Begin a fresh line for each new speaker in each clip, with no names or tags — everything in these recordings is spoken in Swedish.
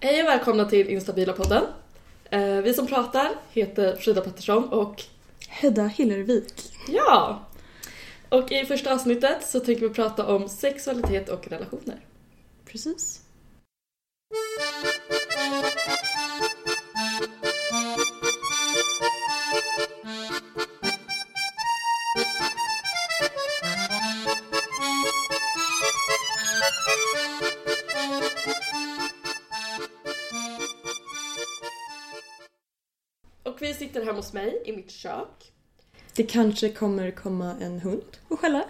Hej och välkomna till Instabila-podden. Eh, Vi som pratar heter Frida Pettersson och
Hedda Hillervik.
ja! Och i första avsnittet så tänker vi prata om sexualitet och relationer.
Precis.
Och vi sitter hemma hos mig i mitt kök.
Det kanske kommer komma en hund och skälla.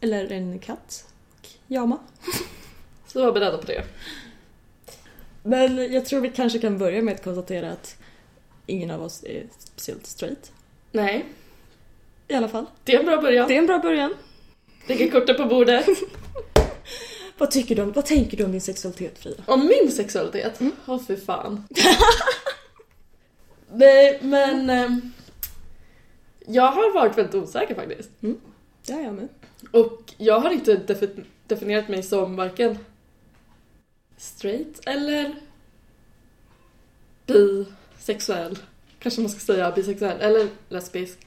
Eller en katt och jama.
Så var beredda på det.
Men jag tror vi kanske kan börja med att konstatera att ingen av oss är speciellt straight.
Nej,
I alla fall.
det är en bra början.
Det är en bra början.
Lägger korten på bordet.
Vad tycker du om, vad tänker du om din sexualitet Frida?
Om min sexualitet? Åh
Mm.
fy fan. Nej men... ehm, Jag har varit väldigt osäker faktiskt.
Det är jag med.
Och jag har inte defi- definierat mig som varken straight eller bisexuell. Kanske man ska säga bisexuell eller lesbisk.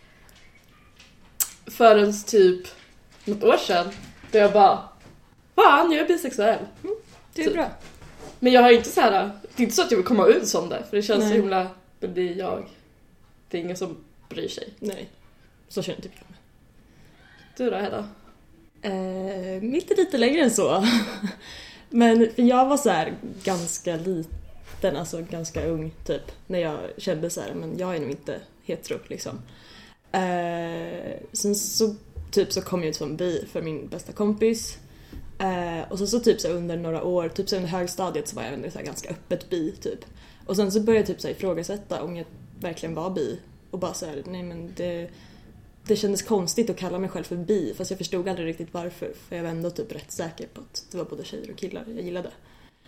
Förrän typ något år sedan då jag bara Fan, jag är bisexuell.
Det är
Typ.
bra.
Men jag har ju inte så här. Det är inte så att jag vill komma ut som det för det känns så
Nej.
himla Men det är jag. Det är ingen som bryr sig.
Nej. Så känner typ inte jag.
Du då Hedda?
Eh, mitt är lite längre än så. Men för jag var så här ganska liten, alltså ganska ung typ, när jag kände så här, men jag är nog inte hetero liksom. Eh, sen så typ så kom jag ut som bi för min bästa kompis. Eh, och sen så typ så här, under några år, typ så här, under högstadiet så var jag ändå så här, ganska öppet bi typ. Och sen så började jag typ så här, ifrågasätta om jag verkligen var bi. Och bara så här, nej men det det kändes konstigt att kalla mig själv för bi fast jag förstod aldrig riktigt varför för jag var ändå typ rätt säker på att det var både tjejer och killar jag gillade.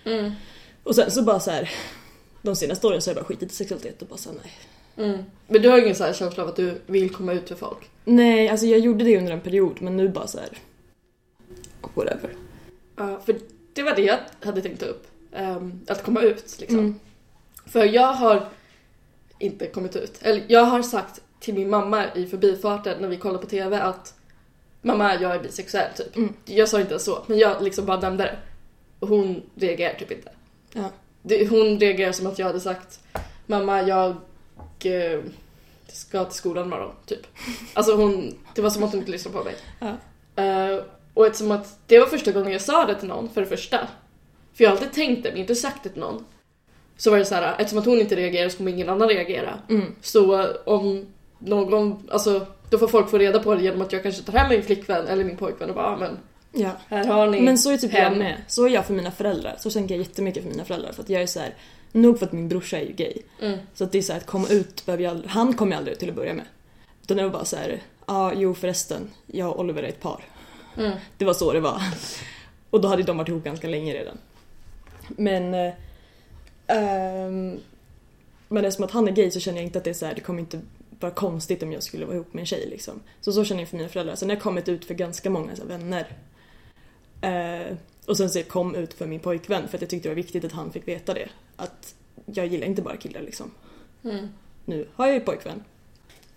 Mm.
Och sen så bara så här. de senaste åren så har jag bara skitit i sexualitet och bara såhär nej.
Mm. Men du har ingen så här känsla av att du vill komma ut för folk?
Nej, alltså jag gjorde det under en period men nu bara så här. whatever.
Ja, för det var det jag hade tänkt ta upp. Ehm, att komma ut liksom.
Mm.
För jag har inte kommit ut. Eller jag har sagt till min mamma i förbifarten när vi kollade på TV att Mamma, jag är bisexuell typ.
Mm.
Jag sa inte så, men jag liksom bara nämnde det. Och hon reagerar typ inte.
Ja.
Det, hon reagerar som att jag hade sagt Mamma, jag eh, ska till skolan imorgon, typ. Alltså hon, det var som att hon inte lyssnade på mig.
Ja.
Eh, och eftersom att det var första gången jag sa det till någon, för det första. För jag har alltid tänkt det, men inte sagt det till någon. Så var det så här, eftersom att hon inte reagerade så kommer ingen annan reagera.
Mm.
Så eh, om någon, alltså då får folk få reda på det genom att jag kanske tar hem min flickvän eller min pojkvän och bara ah, men
ja.
här har ni.
Men så är typ jag
Hem.
med. Så är jag för mina föräldrar. Så tänker jag jättemycket för mina föräldrar för att jag är så här. nog för att min brorsa är ju gay.
Mm.
Så att det är så här, att komma ut behöver jag aldrig, han kom jag aldrig ut till att börja med. Utan det var bara så här, ja jo förresten, jag och Oliver är ett par.
Mm.
Det var så det var. Och då hade de varit ihop ganska länge redan. Men... Eh, ehm, men eftersom att han är gay så känner jag inte att det är så här, det kommer inte vara konstigt om jag skulle vara ihop med en tjej liksom. Så så känner jag för mina föräldrar. Sen har jag kommit ut för ganska många så här, vänner. Eh, och sen så jag kom ut för min pojkvän för att jag tyckte det var viktigt att han fick veta det. Att jag gillar inte bara killar liksom.
Mm.
Nu har jag ju pojkvän.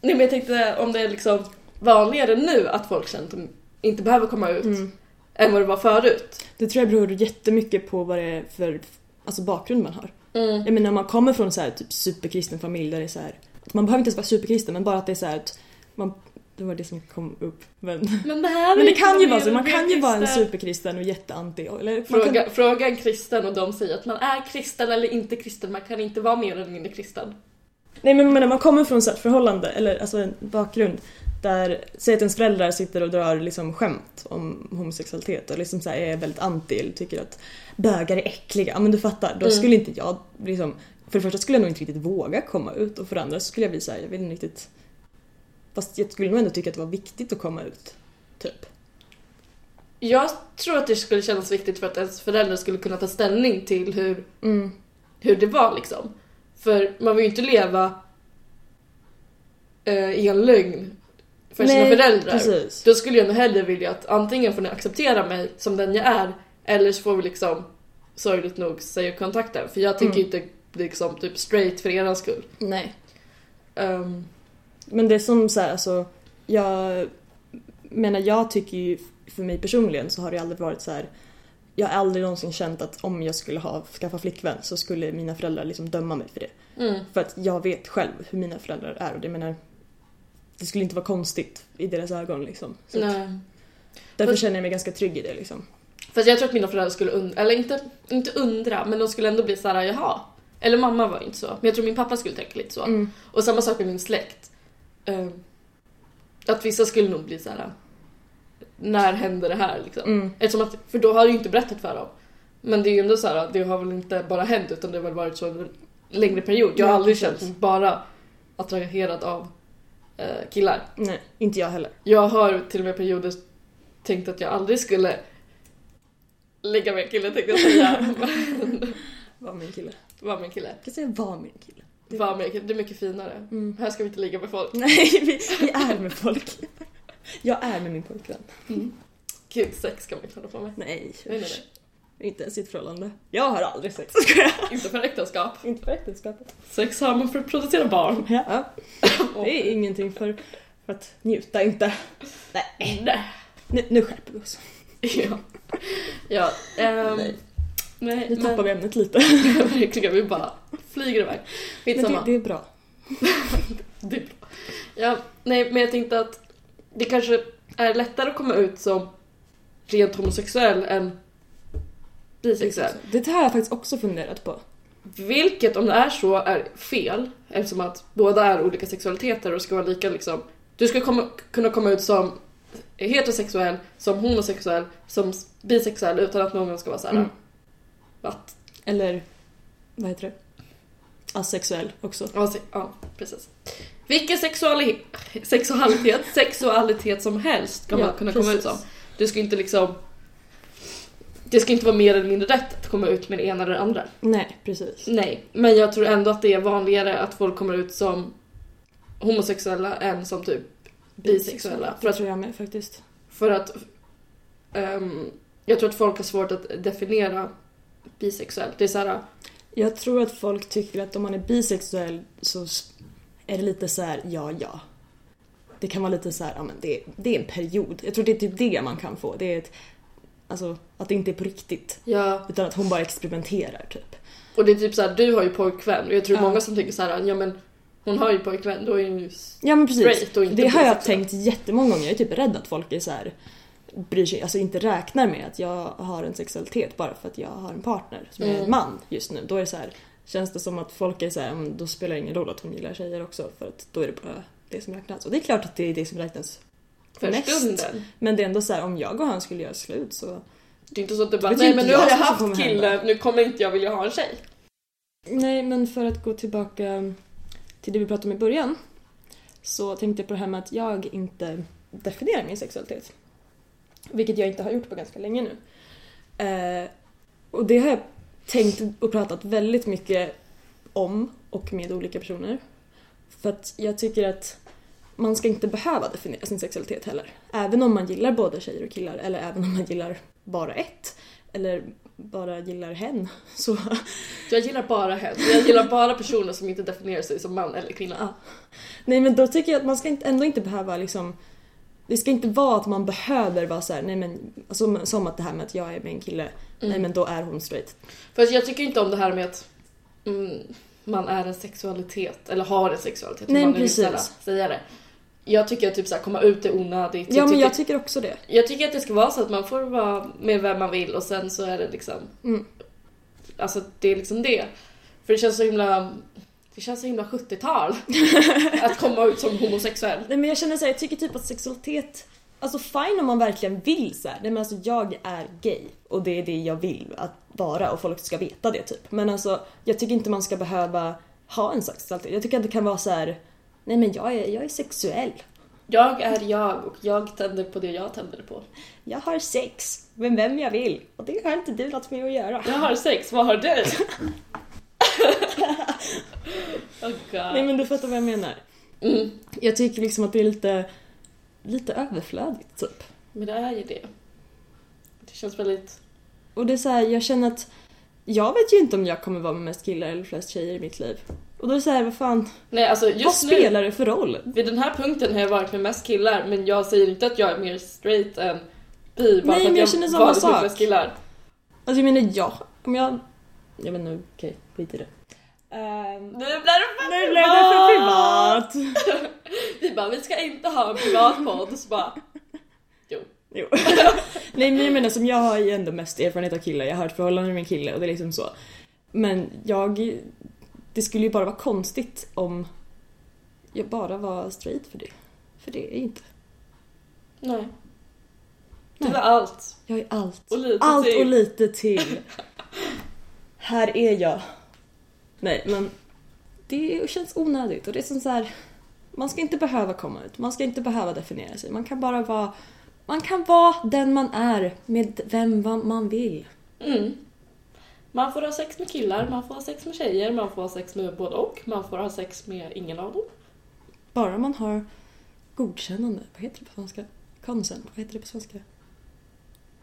Nej men jag tänkte om det är liksom vanligare nu att folk känner att de inte behöver komma ut
Mm.
än vad det var förut.
Det tror jag beror jättemycket på vad det är för alltså, bakgrund man har.
Mm.
Jag menar om man kommer från så här, typ superkristen familj där det är så här, att man behöver inte ens vara superkristen men bara att det är så här att man, det var det som kom upp men,
Men det här är
men det kan ju
inte
vara så, man
mer
kan ju vara en
kristen.
superkristen och jätteanti eller man kan-
Fråga, fråga en kristen och de säger att man är kristen eller inte kristen, man kan inte vara mer eller mindre kristen.
Nej men när man kommer från så här ett förhållande eller alltså en bakgrund där, säg att ens föräldrar sitter och drar liksom skämt om homosexualitet och liksom så här är väldigt anti eller tycker att bögar är äckliga. Ja men du fattar, då
Mm.
skulle inte jag liksom, för det första skulle jag nog inte riktigt våga komma ut och för det andra så skulle jag bli såhär, jag vill inte riktigt Fast jag skulle nog ändå tycka att det var viktigt att komma ut. Typ.
Jag tror att det skulle kännas viktigt för att ens föräldrar skulle kunna ta ställning till hur,
Mm.
hur det var liksom. För man vill ju inte leva eh, i en lögn för sina
Nej,
föräldrar.
Precis.
Då skulle jag nog hellre vilja att antingen får ni acceptera mig som den jag är eller så får vi liksom sorgligt nog säger kontakten. För jag tänker
Mm.
inte liksom typ straight för er skull.
Nej.
Ehm,
Men det är som så här, alltså, jag menar jag tycker ju, för mig personligen så har det aldrig varit så här. Jag har aldrig någonsin känt att om jag skulle ha skaffa flickvän så skulle mina föräldrar liksom döma mig för det.
mm,
För att jag vet själv hur mina föräldrar är och det menar det skulle inte vara konstigt i deras ögon liksom. Så att
nej.
därför
Men-
känner jag mig ganska trygg i det liksom.
Fast jag tror att mina föräldrar skulle undra, eller inte, inte undra, men de skulle ändå bli såhär, jaha. Eller mamma var ju inte så, men jag tror min pappa skulle tänka lite så.
Mm.
Och samma sak med min släkt. Ehm, att vissa skulle nog bli såhär, när hände det här liksom?
Mm.
Eftersom att, för då har du ju inte berättat för dem. Men det är ju ändå så här, det har väl inte bara hänt utan det har väl varit så en längre period. Jag har
Ja,
aldrig
precis.
känt mig bara attraherad av eh, killar.
Nej, inte jag heller.
Jag har till och med perioder tänkt att jag aldrig skulle lägga med en kille tänkte jag säga.
Var min kille.
Vara med en kille.
Jag kan säga var min kille.
Vara med en kille, det är mycket finare.
Mm.
Här ska vi inte ligga med folk.
Nej, vi, vi är med folk. Jag är med min pojkvän.
Gud, sex ska man kalla på mig.
Nej,
Jag menar det.
Inte ens i ett förhållande. Jag har aldrig sex. Ska jag?
Inte för äktenskap.
Inte för äktenskapet.
Sex har man för att producera barn.
Ja. Det är ingenting för, för att njuta inte. Nej.
Nej.
Nu, nu skärper vi oss.
Ja. ja ehm,
Nej.
nej,
Nu tappar vi ämnet lite.
Verkligen, vi bara flyger iväg.
Men
Skitsamma.
det, det är bra.
Det är bra. Ja, nej, men jag tänkte att det kanske är lättare att komma ut som rent homosexuell än bisexuell.
Det här har jag faktiskt också funderat på.
Vilket, om det är så, är fel eftersom att båda är olika sexualiteter och ska vara lika liksom. Du ska komma, kunna komma ut som heterosexuell, som homosexuell, som bisexuell utan att någon ska vara såhär,
Mm.
att,
Eller, vad heter det? Asexuell också.
ja, se- ja, precis. Vilken sexuali- sexualitet, sexualitet som helst ska man kunna komma ut som. Du ska inte liksom... Det ska inte vara mer eller mindre rätt att komma ut med det ena eller det andra.
Nej, precis.
Nej, men jag tror ändå att det är vanligare att folk kommer ut som homosexuella än som typ bisexuella. För
Det
att,
tror jag med faktiskt.
för att ehm, jag tror att folk har svårt att definiera bisexuell. Det är såhär,
Jag tror att folk tycker att om man är bisexuell så s- är det lite så här, ja, ja. Det kan vara lite så här, ja men det, det är en period. Jag tror det är typ det man kan få. Det är ett, alltså, att det inte är på riktigt.
ja.
Utan att hon bara experimenterar typ.
Och det är typ såhär, du har ju pojkvän. Och jag tror
Ja.
många som tänker såhär, ja men hon har ju pojkvän, då är hon ju
Ja men precis.
straight och inte
Det har jag
bisexuell.
tänkt jättemånga gånger. Jag är typ rädd att folk är så här, bryr sig, alltså inte räknar med att jag har en sexualitet bara för att jag har en partner som är
Mm.
en man just nu. Då är det så här, känns det som att folk är så här, "Ja, men då spelar det ingen roll att hon gillar tjejer också för att då är det bara det som räknas. Och det är klart att det är det som räknas.
för
Mest.
stunden.
Men det är ändå så här, om jag och han skulle göra slut så...
Det är inte så att du bara,
betyder
nej men nu
inte
har jag
jag vad som
haft
kommer
kille,
hända."
nu kommer inte jag vilja ha en tjej.
Nej men för att gå tillbaka till det vi pratade om i början så tänkte jag på det här med att jag inte definierar min sexualitet. Vilket jag inte har gjort på ganska länge nu. Eh, och det har jag tänkt och pratat väldigt mycket om och med olika personer. För att jag tycker att man ska inte behöva definiera sin sexualitet heller. Även om man gillar både tjejer och killar eller även om man gillar bara ett eller bara gillar hen. Så
Jag gillar bara hen. Jag gillar bara personer som inte definierar sig som man eller kvinna.
Nej men då tycker jag att man ska inte, ändå inte behöva liksom Det ska inte vara att man behöver vara såhär, nej men alltså, som att det här med att jag är med en kille, nej men då är hon straight.
Mm. För jag tycker inte om det här med att mm, man är en sexualitet, eller har en sexualitet. om
Nej,
man nu
precis.
vill ställa- säga det. Jag tycker att typ såhär, komma ut är onödigt.
Ja men
tycker,
jag tycker också det.
jag tycker att det ska vara så att man får vara med vem man vill och sen så är det liksom...
Mm.
Alltså det är liksom det. För det känns så himla... Det känns så himla 70-tal. att komma ut som homosexuell.
Nej men jag känner såhär, jag tycker typ att sexualitet, alltså fine om man verkligen vill såhär, nej men alltså jag är gay och det är det jag vill att vara och folk ska veta det typ. Men alltså jag tycker inte man ska behöva ha en sexualitet. Jag tycker att det kan vara så här. nej men jag är, jag är sexuell.
Jag är jag och jag tänder på det jag tänder på.
Jag har sex med vem jag vill och det har inte du något med att göra.
Jag har sex, vad har du? oh god.
Nej men du fattar vad jag menar.
Mm.
Jag tycker liksom att det är lite, lite överflödigt typ.
Men det är ju det. Det känns väldigt...
Och det är så här, jag känner att jag vet ju inte om jag kommer vara med mest killar eller flest tjejer i mitt liv. Och då är det såhär, vad fan,
Nej, alltså
vad
just nu,
spelar det för roll?
vid den här punkten har jag varit med mest killar, men jag säger inte att jag är mer straight än bi, bara för
Nej, men
att
jag
jag,
känner samma
varit med
sak.
flest killar.
Alltså jag menar, jag, om jag... Jag vet inte, okej, skit i det. Ehm,
Nu blev det för
nu blev det för privat!
Vi bara, vi ska inte ha en privat podd, så bara...
Jo. Nej men jag menar som jag har ju ändå mest erfarenhet av killar, jag har ett förhållande med en kille och det är liksom så. Men jag... Det skulle ju bara vara konstigt om jag bara var straight för det. För det är jag inte.
Nej. Du
Nej.
är allt.
Jag är allt.
Och lite
allt
till.
och lite till. här är jag. Nej men det känns onödigt och det är som så här. Man ska inte behöva komma ut, man ska inte behöva definiera sig. Man kan bara vara man kan vara den man är med vem va- man vill.
Mm. Man får ha sex med killar, man får ha sex med tjejer, man får ha sex med både och, man får ha sex med ingen av dem.
Bara man har godkännande. Vad heter det på svenska? Consent. Vad heter det på svenska?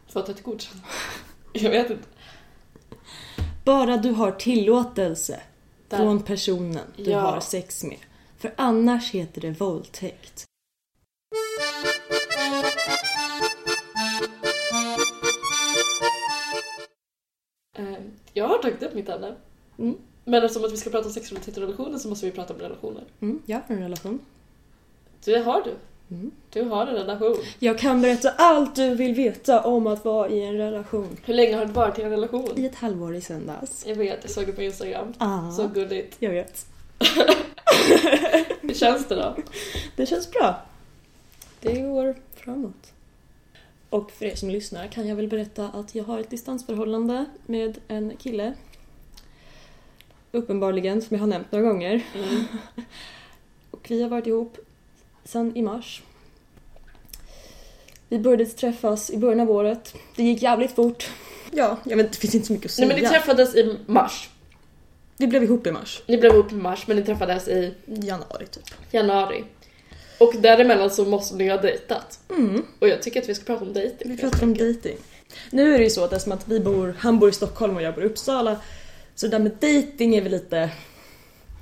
För att ett godkänt. Jag vet inte.
Bara du har tillåtelse
Där.
från personen du
Ja.
har sex med. För annars heter det våldtäkt.
Eh, Jag har tagit upp mitt ämne.
Mm.
Men eftersom att vi ska prata om sexualitet och relationer så måste vi prata om relationer.
Mm, jag har en relation.
Det har du.
Mm.
Du har en relation.
Jag kan berätta allt du vill veta om att vara i en relation.
Hur länge har du varit i en relation?
I ett halvår i söndags.
Jag vet, jag såg det på Instagram.
Ah,
Så gulligt.
jag vet.
Hur känns det då?
Det känns bra. Det går framåt. Och för er som lyssnar kan jag väl berätta att jag har ett distansförhållande med en kille. Uppenbarligen, som jag har nämnt några gånger.
Mm.
Och vi har varit ihop sedan i mars. Vi började träffas i början av året. Det gick jävligt fort. Ja, jag vet, det finns inte så mycket att
Nej
säga.
men ni träffades i mars.
Vi blev ihop i mars.
Ni blev ihop i mars men ni träffades i
Januari typ.
januari. Och däremellan så måste ni ha dejtat.
Mm.
Och jag tycker att vi ska prata om dejting.
Vi pratar om dejting. Nu är det ju så att eftersom att vi bor, han bor i Stockholm och jag bor i Uppsala. Så det där med dejting är väl lite,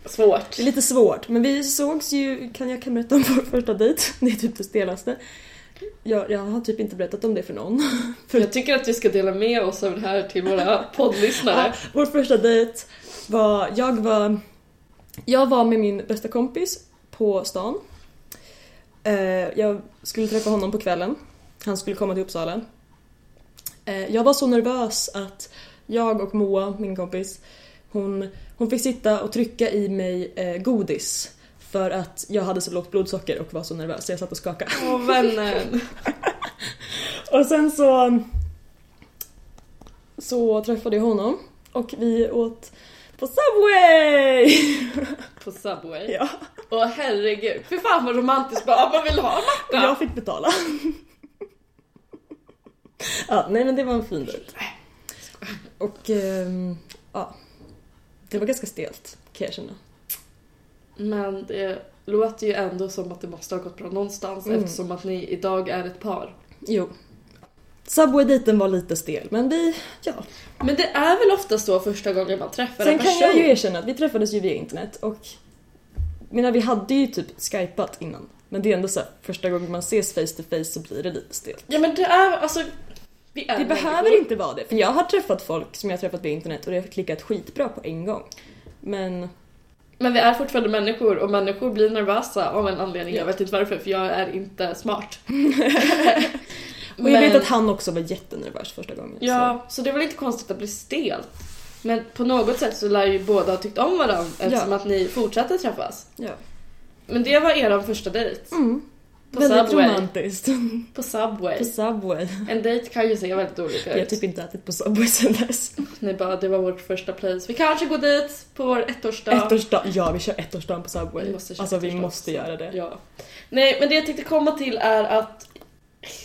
Svårt.
det är lite svårt. Men vi sågs ju, kan jag kan berätta om vår första dejt. Det är typ det stelaste. Jag, jag har typ inte berättat om det för någon.
Jag tycker att vi ska dela med oss av det här till våra
Ja,
poddlyssnare.
vår första dejt var, jag var, jag var med min bästa kompis på stan. Eh, jag skulle träffa honom på kvällen. Han skulle komma till Uppsala. Eh, jag var så nervös att jag och Moa, min kompis, hon, hon fick sitta och trycka i mig eh, godis. För att jag hade så lågt blodsocker och var så nervös så jag satt och skakade.
Åh vännen.
Och sen så så träffade jag honom och vi åt på Subway!
På Subway.
ja,
Åh herregud. Fy fan vad romantiskt. Bara, ah, man vill ha
och
macka.
jag fick betala. ja, nej men det var en fin dejt. Och ehm, ja, det var ganska stelt kan jag känna.
Men det låter ju ändå som att det måste ha gått bra någonstans
Mm.
eftersom att ni idag är ett par.
Jo. Subway-dejten var lite stel men vi, ja.
Men det är väl oftast så första gången man träffar en
Sen
person?
kan jag ju erkänna att vi träffades ju via internet och jag menar vi hade ju typ skypat innan. Men det är ändå så här, första gången man ses face to face så blir det lite stelt.
Ja men det är alltså... Vi, är
Det behöver inte vara det, för jag har träffat folk som jag har träffat via internet och det har klickat skitbra på en gång. Men
Men vi är fortfarande människor och människor blir nervösa av en anledning. Jag vet inte varför för jag är inte smart.
och jag vet att han också var jättenervös första gången.
Ja, så det är väl inte konstigt att bli stel. Men på något sätt så lär ju båda ha tyckt om varandra eftersom
Ja.
att ni fortsatte träffas.
Så, ja.
Men det var er första dejt.
Mm.
På
väldigt
Subway.
romantiskt.
På Subway.
På Subway.
En dejt kan ju se väldigt olika
Jag har
ut.
typ inte ätit på Subway sedan dess.
Ni bara, det var vårt första place. Vi kanske går dit på vår ettårsdag.
Ettårsdagen, ja vi kör ettårsdagen på Subway.
Vi måste köra
alltså vi
ettårsdag.
måste göra det.
Ja. Nej, men det jag tänkte komma till är att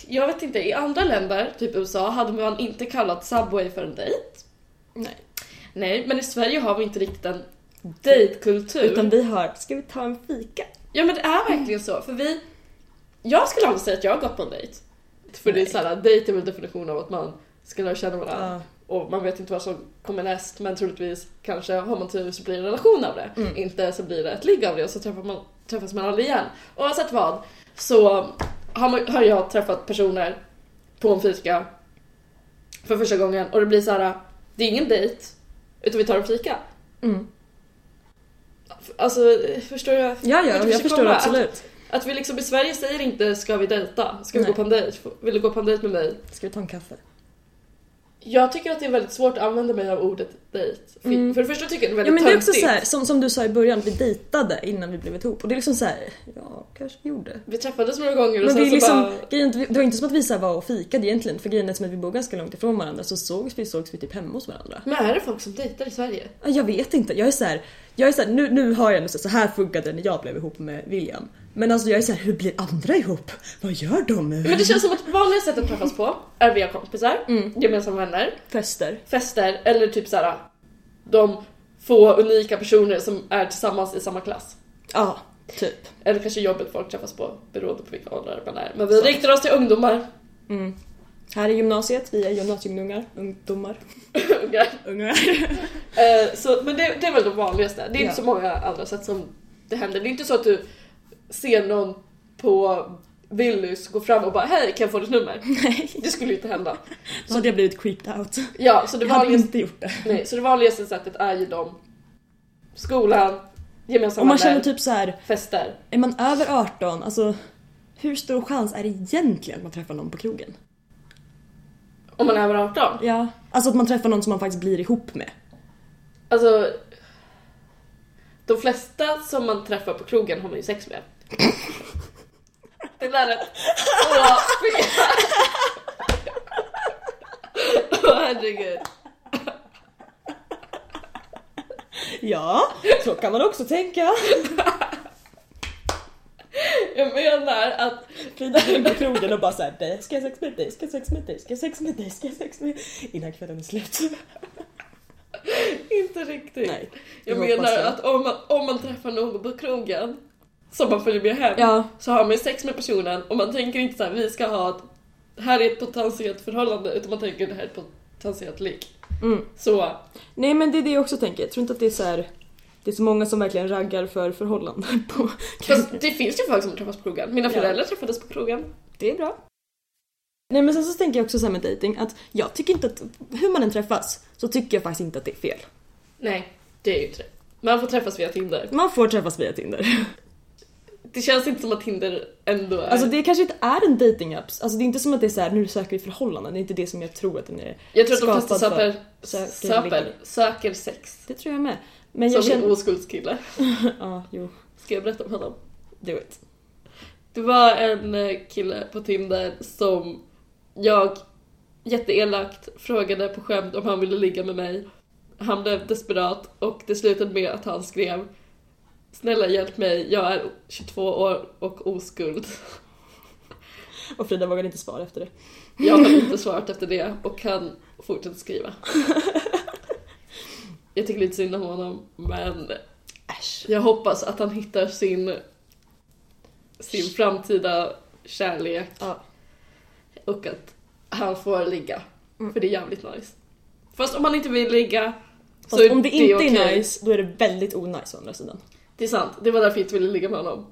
jag vet inte, i andra länder, typ USA, hade man inte kallat Subway för en dejt.
Nej.
Nej, men i Sverige har vi inte riktigt en dejtkultur.
Utan vi har, ska vi ta en fika?
Ja men det är verkligen så, för vi... Jag skulle aldrig säga att jag har gått på en dejt. För det
Nej.
är såhär, dejt är väl definition av att man ska lära känna varandra.
Ja.
och man vet inte vad som kommer näst men troligtvis kanske har man tur så blir det en relation av det.
Mm.
Inte så blir det ett ligg av det och så träffar man, träffas man aldrig igen. Oavsett vad så har, man, har jag träffat personer på en fika för första gången och det blir så här. det är ingen dejt utan vi tar en fika.
Mm.
Alltså förstår du?
Ja, ja,
Vet du, vi
jag
ska
förstår
komma-
absolut.
Att vi liksom i Sverige säger inte ska vi dejta? Ska vi
Nej.
gå på en dejt? Vill du gå på en dejt med mig?
Ska vi ta en kaffe?
Jag tycker att det är väldigt svårt att använda mig av ordet dejt. För,
Mm.
för det första tycker jag det är
Ja men
väldigt
det är också
töntigt.
så här, som, som du sa i början, vi dejtade innan vi blev ihop. Och det är liksom så här, ja kanske vi gjorde.
Vi träffades några gånger och
Men det,
sen
är
så
liksom,
bara...
grejen, är inte- det var inte som att vi så här var och fikade egentligen för grejen är som att vi bor ganska långt ifrån varandra så sågs vi sågs vi typ hemma hos varandra.
Men är det folk som dejtar i Sverige?
Ja, Jag vet inte, jag är så här, jag är så här, nu, nu har jag nu så här, så här funkade det när jag blev ihop med William. Men alltså jag är så här, hur blir andra ihop? Vad gör de?
Men det känns som att vanliga sätt att träffas på är via kompisar,
Mm,
gemensamma vänner,
fester.
fester eller typ så här. de få unika personer som är tillsammans i samma klass.
Ja, typ.
Eller kanske jobbet folk träffas på beroende på vilka åldrar man är. Men vi
Så.
riktar oss till ungdomar.
Mm. Här i gymnasiet, vi är gymnasieungdomar. Ungdomar.
Ungar.
Ungar.
Eh, så, men det, det är väl det vanligaste. Det är
Ja.
inte så många andra sätt som det händer. Det är inte så att du ser någon på Willys gå fram och bara hej kan jag få ditt nummer?
Nej.
Det skulle ju inte hända.
Så hade jag blivit creeped out.
Ja, så det,
Jag hade
vanligaste,
inte gjort det.
nej, så det vanligaste sättet är ju de skolan,
Om
gemensamma
man känner
vänner,
typ så här,
fester.
är man över 18, alltså hur stor chans är det egentligen att man träffar någon på krogen?
Om man är över 18.
Ja. Alltså att man träffar någon som man faktiskt blir ihop med.
Alltså, de flesta som man träffar på krogen har man ju sex med. Det där är... Åh, fy. Åh, herregud.
Ja, så kan man också tänka.
Jag menar att...
Frida går in på krogen och bara såhär, dig ska jag sex med dig, ska jag sex med dig, ska jag sex med dig, ska jag sex med dig. Innan kvällen är slut.
Inte riktigt.
Nej.
jag
jag hoppas
menar
det.
att om man, om man träffar någon på krogen som man följer med hem
Ja.
så har man ju sex med personen och man tänker inte så här, vi ska ha ett... Här är ett potentiellt förhållande utan man tänker det här är ett potentiellt ligg.
Mm.
Så
Nej men det är det jag också tänker, jag tror inte att det är så här. det är så många som verkligen raggar för förhållanden på
Fast det finns ju folk som träffas på krogen. Mina
Ja.
föräldrar träffades på krogen.
Det är bra. Nej men sen så tänker jag också såhär med dating att jag tycker inte att, hur man än träffas, så tycker jag faktiskt inte att det är fel.
Nej, det är ju inte det. Man får träffas via Tinder.
Man får träffas via Tinder.
Det känns inte som att Tinder ändå är...
Alltså det kanske inte är en datingapp, alltså det är inte som att det är såhär nu söker vi förhållanden, det är inte det som jag tror att den är.
jag tror att de
skapad
flesta
för-
söper,
söker
söper,
ligg.
söker sex.
Det tror jag med. Men
som
jag känner...
en oskuldskille.
Ja, jo.
Ska jag berätta om honom?
Do it.
Det var en eh, kille på Tinder som jag jätteelakt frågade på skämt om han ville ligga med mig. Han blev desperat och det slutade med att han skrev Snälla hjälp mig, jag är 22 år och oskuld.
Och Frida vågade inte svara efter det.
Jag har inte svarat efter det och kan fortsätta skriva. Jag tycker lite synd om honom, men
Äsch.
jag hoppas att han hittar sin, sin framtida kärlek
Ja.
och att han får ligga.
Mm.
För det är jävligt nice. Fast om han inte vill ligga
Fast om det, inte är nice, då är det väldigt onice å andra sidan.
Det är sant, det var därför jag inte ville ligga med honom.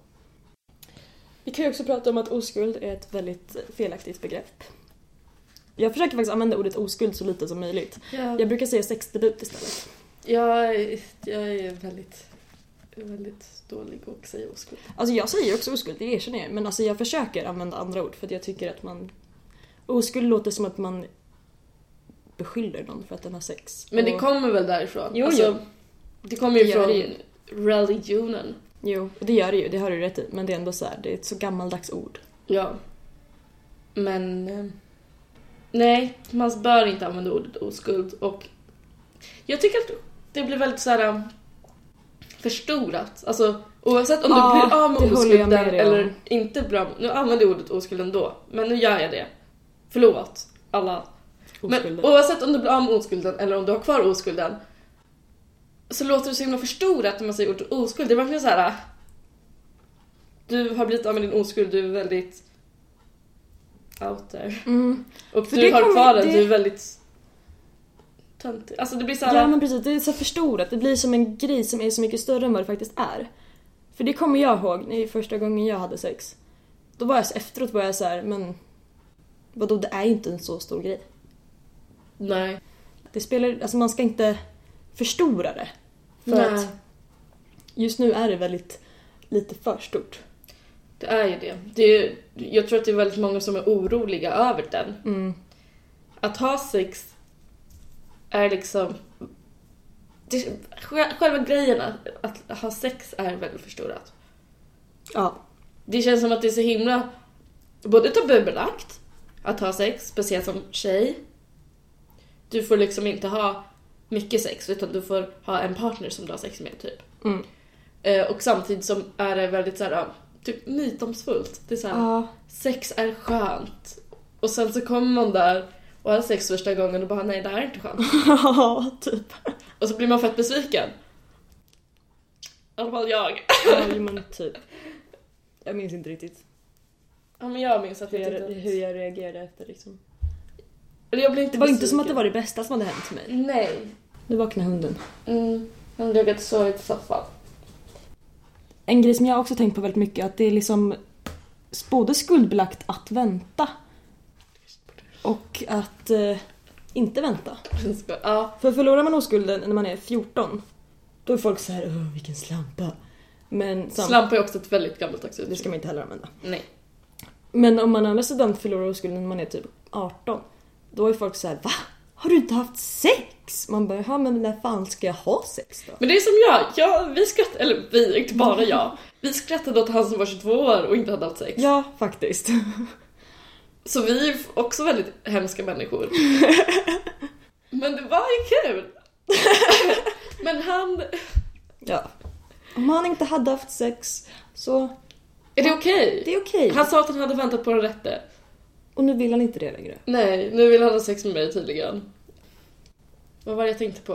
Vi kan ju också prata om att oskuld är ett väldigt felaktigt begrepp. Jag försöker faktiskt använda ordet oskuld så lite som möjligt.
Jag,
Jag brukar säga sexdebut istället.
jag, är- jag är väldigt, väldigt dålig och säger oskuld.
Alltså jag säger också oskuld, det erkänner jag men alltså jag försöker använda andra ord för att jag tycker att man... Oskuld låter som att man beskyller någon för att den har sex.
Men det
Och-
kommer väl därifrån? Alltså,
Jo, jo.
Det kommer ju
Det gör
från
det ju.
religionen.
Jo, det gör det ju, det har du rätt i. Men det är ändå så här, det är ett så gammaldags ord.
Ja. Men... eh, Nej, man bör inte använda ordet oskuld och jag tycker att det blir väldigt så här eh, förstorat. Alltså oavsett om
Ja,
du blir av
det
med
håller jag
oskulden
med dig om.
eller inte blir av med- Nu använder jag ordet oskuld ändå, men nu gör jag det. Förlåt, alla. Men
Oskulden.
oavsett om du blir av med oskulden eller om du har kvar oskulden så låter det så himla förstorat när man säger ordet oskuld. Det är verkligen så här. eh, Du har blivit av med din oskuld, du är väldigt out there.
Mm.
Och
För
du
det
har
kommer-
kvar den,
det-
du är väldigt töntigt. Alltså det blir såhär...
Ja men precis, det är så förstorat. Det blir som en grej som är så mycket större än vad det faktiskt är. För det kommer jag ihåg när första gången jag hade sex. Då var jag så, efteråt var jag så här, men vadå det är ju inte en så stor grej.
Nej.
Det spelar, alltså man ska inte förstora det. För
Nej.
att just nu är det väldigt lite för stort.
Det är ju det. det är, ju- jag tror att det är väldigt många som är oroliga över den.
Mm.
Att ha sex är liksom... Det, sj- själva grejen att, att ha sex är väldigt förstorat.
Ja.
Det känns som att det är så himla... Både tabubelagt att ha sex, speciellt som tjej. Du får liksom inte ha mycket sex utan du får ha en partner som du har sex med typ.
Mm.
Eh, och samtidigt som är det väldigt så här, ja, typ mytomspunnet. Det är så här,
Ja.
sex är skönt. Och sen så kommer man där och har sex första gången och bara nej det här är inte skönt.
Ja, typ.
Och så blir man fett besviken. I alla fall jag.
Ja, jo, men typ. Jag minns inte riktigt
Ja men jag minns att
hur
jag,
jag,
tyckte-
hur jag reagerade efter liksom.
Eller jag blev inte
Det var inte
besviken.
som att det var det bästa som hade hänt mig.
Nej.
Nu vaknar hunden.
Mm. Han låg och sov i soffan.
En grej som jag också tänkt på väldigt mycket att det är liksom både skuldbelagt att vänta och att eh, inte vänta.
Ja.
För förlorar man oskulden när man är 14 då är folk så här "Åh, vilken slampa. Men sam-
Slampa är också ett väldigt gammalt
det
uttryck.
ska man inte heller använda.
Nej.
Men om man å andra sidan förlorar oskulden när man är typ 18 då är folk så här va? Har du inte haft sex? Man bara ja men när fan ska jag ha sex då?
Men det är som jag, jag vi skrattade, eller vi, inte bara jag. Vi skrattade åt han som var 22 år och inte hade haft sex.
Ja, faktiskt.
Så vi är ju också väldigt hemska människor. Men det var ju kul! Men han...
Ja. Om han inte hade haft sex så
Är det okej?
det är okej.
Han sa att han hade väntat på den rätte.
Och nu vill han inte det längre.
Nej, nu vill han ha sex med mig tydligen. Vad var det jag tänkte på?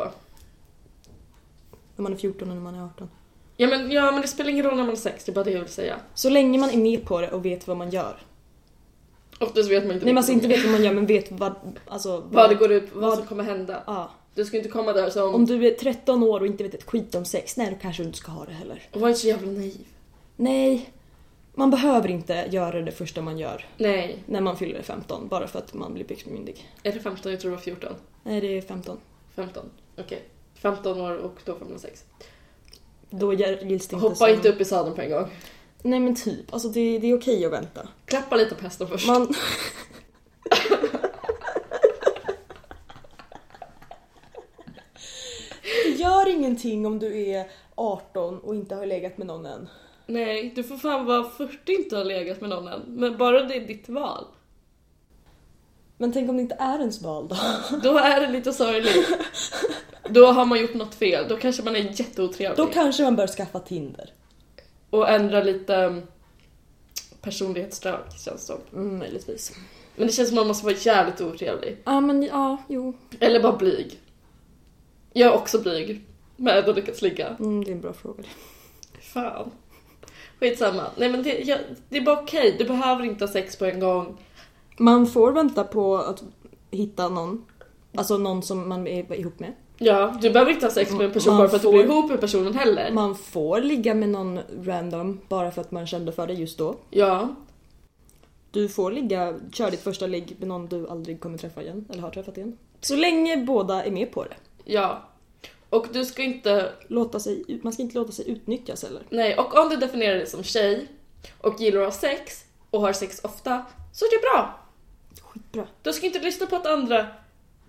När man är 14 och när man är 18.
Ja men, ja, men det spelar ingen roll när man har sex, det är bara det jag vill säga.
Så länge man är med på det och vet vad man gör.
Oftast vet man inte
Nej
riktigt
man alltså inte vet vad man gör men vet vad, alltså.
vad det går ut vad,
vad-
som kommer hända.
Ja.
Du ska inte komma där som...
Om du är 13 år och inte vet ett skit om sex, nej då kanske du inte ska ha det heller.
Var inte så jävla naiv.
Nej. Man behöver inte göra det första man gör
Nej,
när man fyller 15 bara för att man blir byxmyndig.
är det 15? Jag tror det var 14.
Nej det är 15.
15, okej. 15 år och då får man sex.
Då gär- gills det inte
Hoppa inte upp i sadeln på en gång.
Nej men typ, alltså det, det är okej att vänta.
Klappa lite på hästen först.
Man... det gör ingenting om du är 18 och inte har legat med någon än.
Nej, du får fan vara 40 inte har legat med någon än. Men bara det är ditt val.
Men tänk om det inte är ens val då?
Då är det lite sorgligt. Då har man gjort något fel. Då kanske man är
Då
jätteotrevlig.
kanske man bör skaffa Tinder.
Och ändra lite um, personlighetsdrag känns det som.
Mm, möjligtvis.
Men det känns som att man måste vara jävligt otrevlig.
Ja men ja, jo.
Eller bara blyg. Jag är också blyg. Men ändå lyckats ligga.
Mm, det är en bra fråga.
Fan. Skitsamma. Nej men det, jag, det är bara okej. Du behöver inte ha sex på en gång.
Man får vänta på att hitta någon. Alltså någon som man är ihop med.
Ja, du behöver inte ha sex med en person
Man
bara för att
får-
du blir ihop med personen heller.
Man får ligga med någon random bara för att man kände för det just då.
Ja.
Du får ligga, köra ditt första ligg med någon du aldrig kommer träffa igen, eller har träffat igen. Så länge båda är med på det.
Ja. Och du ska inte,
Låta sig, ut- man ska inte låta sig utnyttjas heller.
nej, och om du definierar dig som tjej och gillar att ha sex och har sex ofta, så är det bra.
Skitbra.
Du ska inte lyssna på att andra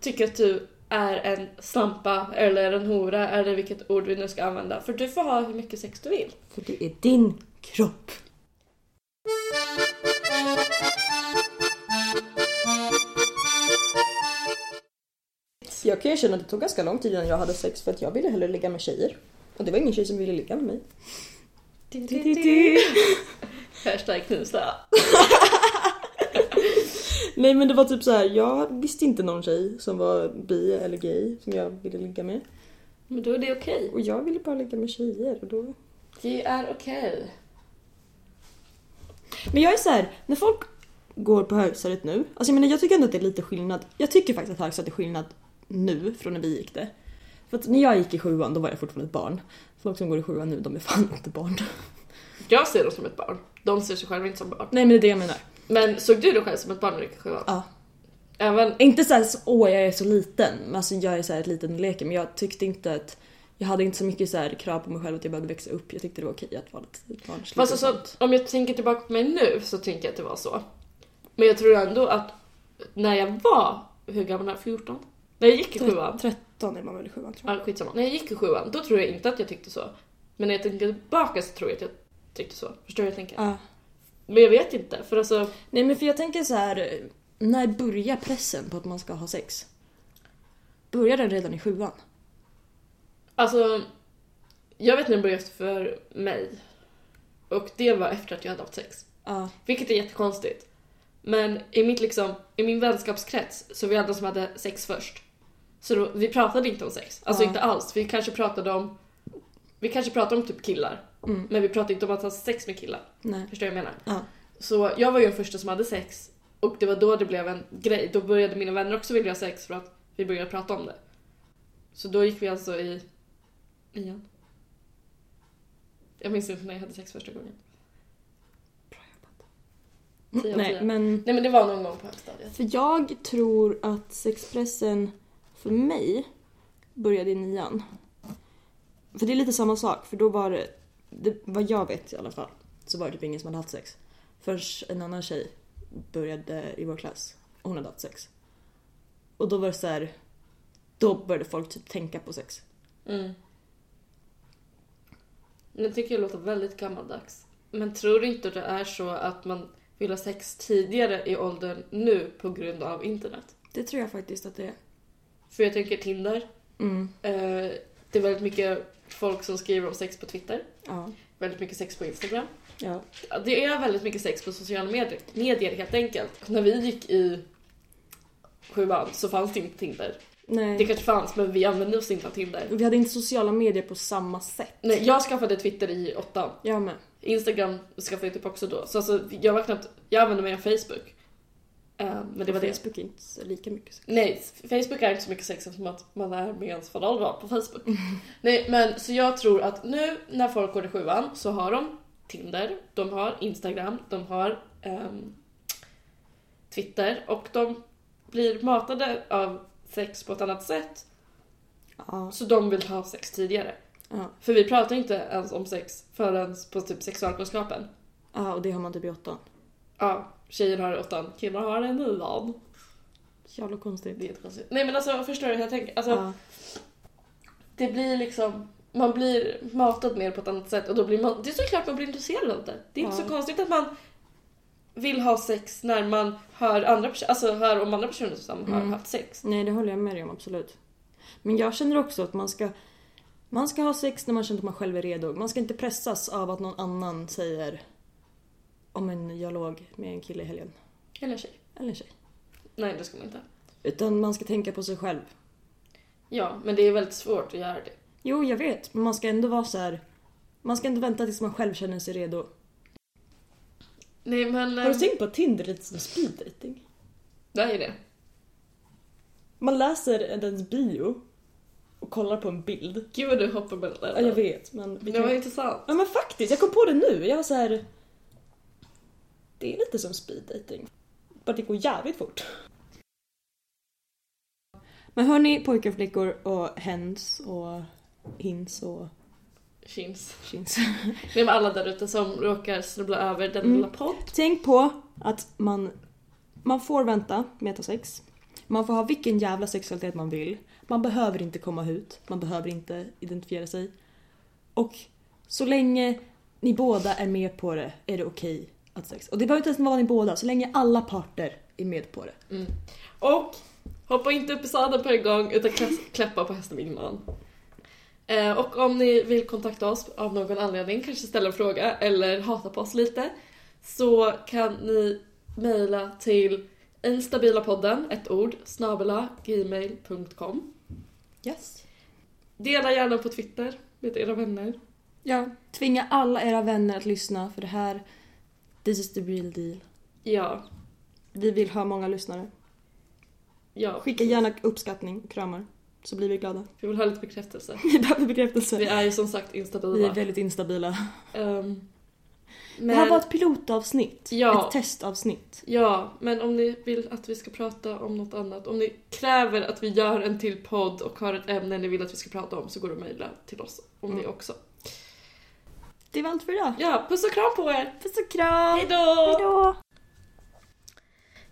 tycker att du är en slampa eller en hora eller vilket ord vi nu ska använda. För du får ha hur mycket sex du vill.
För det är din kropp. Jag kan ju känna att det tog ganska lång tid innan jag hade sex för att jag ville hellre ligga med tjejer. Och det var ingen tjej som ville ligga med mig.
Hashtag knusa.
Nej men det var typ så här. jag visste inte någon tjej som var bi eller gay som jag ville ligga med.
Men då är det okej.
Och jag ville bara ligga med tjejer och då...
Det är okej.
Men jag är så här, när folk går på högstadiet nu, alltså jag menar jag tycker ändå att det är lite skillnad. Jag tycker faktiskt att högstadiet är skillnad nu från när vi gick det. För att när jag gick i sjuan då var jag fortfarande ett barn. Folk som går i sjuan nu de är fan inte barn.
Jag ser dem som ett barn. De ser sig själva inte som barn.
Nej men det är det jag menar.
Men såg du dig själv som ett barn när du gick i sjuan?
Ja.
Även...
Inte såhär så, åh jag är så liten, men alltså jag är såhär liten och leker men jag tyckte inte att jag hade inte så mycket så här krav på mig själv att jag behövde växa upp. Jag tyckte det var okej att vara lite
Fast
barnslig. och
alltså,
sånt.
om jag tänker tillbaka på mig nu så tänker jag att det var så. Men jag tror ändå att när jag var, hur gammal är jag? 14? När jag gick i sjuan.
13 är man väl i sjuan tror jag.
Ja, skitsamma. När jag gick i sjuan, då tror jag inte att jag tyckte så. Men när jag tänker tillbaka så tror jag att jag tyckte så. Förstår du vad jag tänker?
Ja.
Men jag vet inte, för alltså...
Nej men för jag tänker så här. när börjar pressen på att man ska ha sex? Börjar den redan i sjuan?
Alltså, jag vet när det började för mig. Och det var efter att jag hade haft sex.
Ja.
Vilket är jättekonstigt. Men i, mitt liksom, i min vänskapskrets så var vi alla som hade sex först. Så då, vi pratade inte om sex. Alltså
Ja.
inte alls. Vi kanske pratade om... Vi kanske pratade om typ killar.
Mm.
Men vi pratade inte om att ha sex med killar.
Nej.
Förstår du vad jag menar?
Ja.
Så jag var ju den första som hade sex. Och det var då det blev en grej. Då började mina vänner också vilja ha sex för att vi började prata om det. Så då gick vi alltså i nian. Jag minns inte när jag hade sex första gången. Bra jobbat.
Mm, Nej men
Nej men det var någon gång på högstadiet.
För jag tror att sexpressen för mig började i nian. För det är lite samma sak, för då var det, det vad jag vet i alla fall, så var det typ ingen som hade haft sex. Först en annan tjej började i vår klass och hon hade haft sex. Och då var det så här, då började folk typ tänka på sex.
Mm. Nu tycker jag låter väldigt gammaldags. Men tror du inte det är så att man vill ha sex tidigare i åldern nu på grund av internet?
Det tror jag faktiskt att det är.
För jag tänker Tinder,
Mm,
Eh, det är väldigt mycket folk som skriver om sex på Twitter,
ja.
väldigt mycket sex på Instagram.
ja.
Ja, Det är väldigt mycket sex på sociala medier, medier helt enkelt. Och när vi gick i sjuan så fanns det inte Tinder.
Nej.
Det kanske fanns, men vi använde oss inte av Tinder.
Vi hade inte sociala medier på samma sätt.
Nej, jag skaffade Twitter i åttan.
Jag med.
Instagram skaffade jag typ också då. Så alltså, jag var knappt... Jag använde mig av Facebook. Eh, men det var det.
Facebook är inte så lika mycket sex.
Nej, Facebook är inte så mycket sex eftersom att man är med ens föräldrar på Facebook. Nej, men så jag tror att nu när folk går i sjuan så har de Tinder, de har Instagram, de har ehm, Twitter och de blir matade av sex på ett annat sätt
Ja.
så de vill ha sex tidigare.
ja.
För vi pratar inte ens om sex förrän på typ sexualkunskapen.
Ja, och det har man typ i åttan.
Ja, tjejer har det i åttan, killar har det i nian.
Jävla konstigt.
Det är jättekonstigt. Nej men alltså förstår du hur jag tänker? Alltså,
Ja.
det blir liksom man blir matad mer på ett annat sätt och då blir man, det är såklart man blir intresserad av det. Det är inte
Ja.
så konstigt att man vill ha sex när man hör andra personer, alltså hör om andra personer som har
Mm.
haft sex.
Nej, det håller jag med dig om absolut. Men jag känner också att man ska man ska ha sex när man känner att man själv är redo. Man ska inte pressas av att någon annan säger om en jag låg med en kille i helgen.
Eller tjej.
Eller en tjej.
Nej det ska man inte.
Utan man ska tänka på sig själv.
Ja, men det är väldigt svårt att göra det.
Jo, jag vet. Men man ska ändå vara så här. Man ska inte vänta tills man själv känner sig redo.
Nej men... ehm,
Har du tänkt på att Tinder är lite som speeddating?
det är det.
Man läser ens bio och kollar på en bild.
Gud vad du hoppar mellan
Ja, jag vet. Men vi
Det
kan-
var intressant.
Ja men faktiskt, jag kom på det nu. Jag var så här. Det är lite som speed dating. Bara det går jävligt fort. Men hörni pojkar och flickor och hens och hins och
Chins.
chins.
Nej men alla där ute som råkar snubbla över den
Mm.
lilla podd.
Tänk på att man, man får vänta med att ha sex. Man får ha vilken jävla sexualitet man vill. Man behöver inte komma ut. Man behöver inte identifiera sig. Och så länge ni båda är med på det är det okej att ha sex. Och det behöver inte ens vara ni båda, så länge alla parter är med på det.
Mm. Och hoppa inte upp i sadeln på en gång utan kla- klappa på hästen innan. Eh, och om ni vill kontakta oss av någon anledning, kanske ställa en fråga eller hata på oss lite, så kan ni mejla till instabilapodden, ett ord, snabela gmail.com.
Yes.
Dela gärna på Twitter med era vänner.
Ja. Tvinga alla era vänner att lyssna för det här, this is the real deal.
Ja,
Vi vill ha många lyssnare.
Ja,
Skicka gärna uppskattning och kramar så blir vi glada.
Vi vill ha lite bekräftelse.
Vi behöver
Vi
bekräftelse.
är ju som sagt instabila.
Vi är väldigt instabila.
Ehm, men,
Det här var ett pilotavsnitt.
Ja.
Ett testavsnitt.
Ja, men om ni vill att vi ska prata om något annat, om ni kräver att vi gör en till podd och har ett ämne ni vill att vi ska prata om så går det att mejla till oss om
Mm.
det också.
Det var allt för idag.
Ja, puss och kram på er!
Puss och kram!
Hejdå!
Hejdå!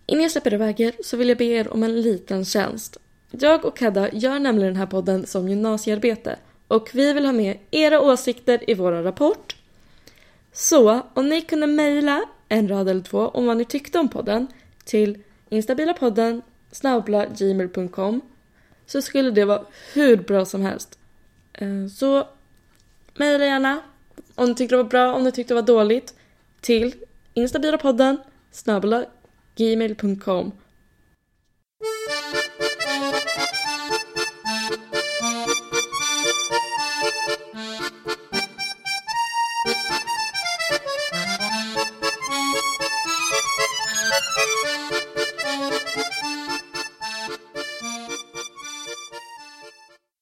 Innan jag släpper iväg er så vill jag be er om en liten tjänst. Jag och Hedda gör nämligen den här podden som gymnasiearbete och vi vill ha med era åsikter i vår rapport. Så om ni kunde mejla en rad eller två om vad ni tyckte om podden till instabilapodden snabla gmail.com så skulle det vara hur bra som helst. Eh, Så mejla gärna om ni tyckte det var bra, om ni tyckte det var dåligt till instabilapodden snabla gmail.com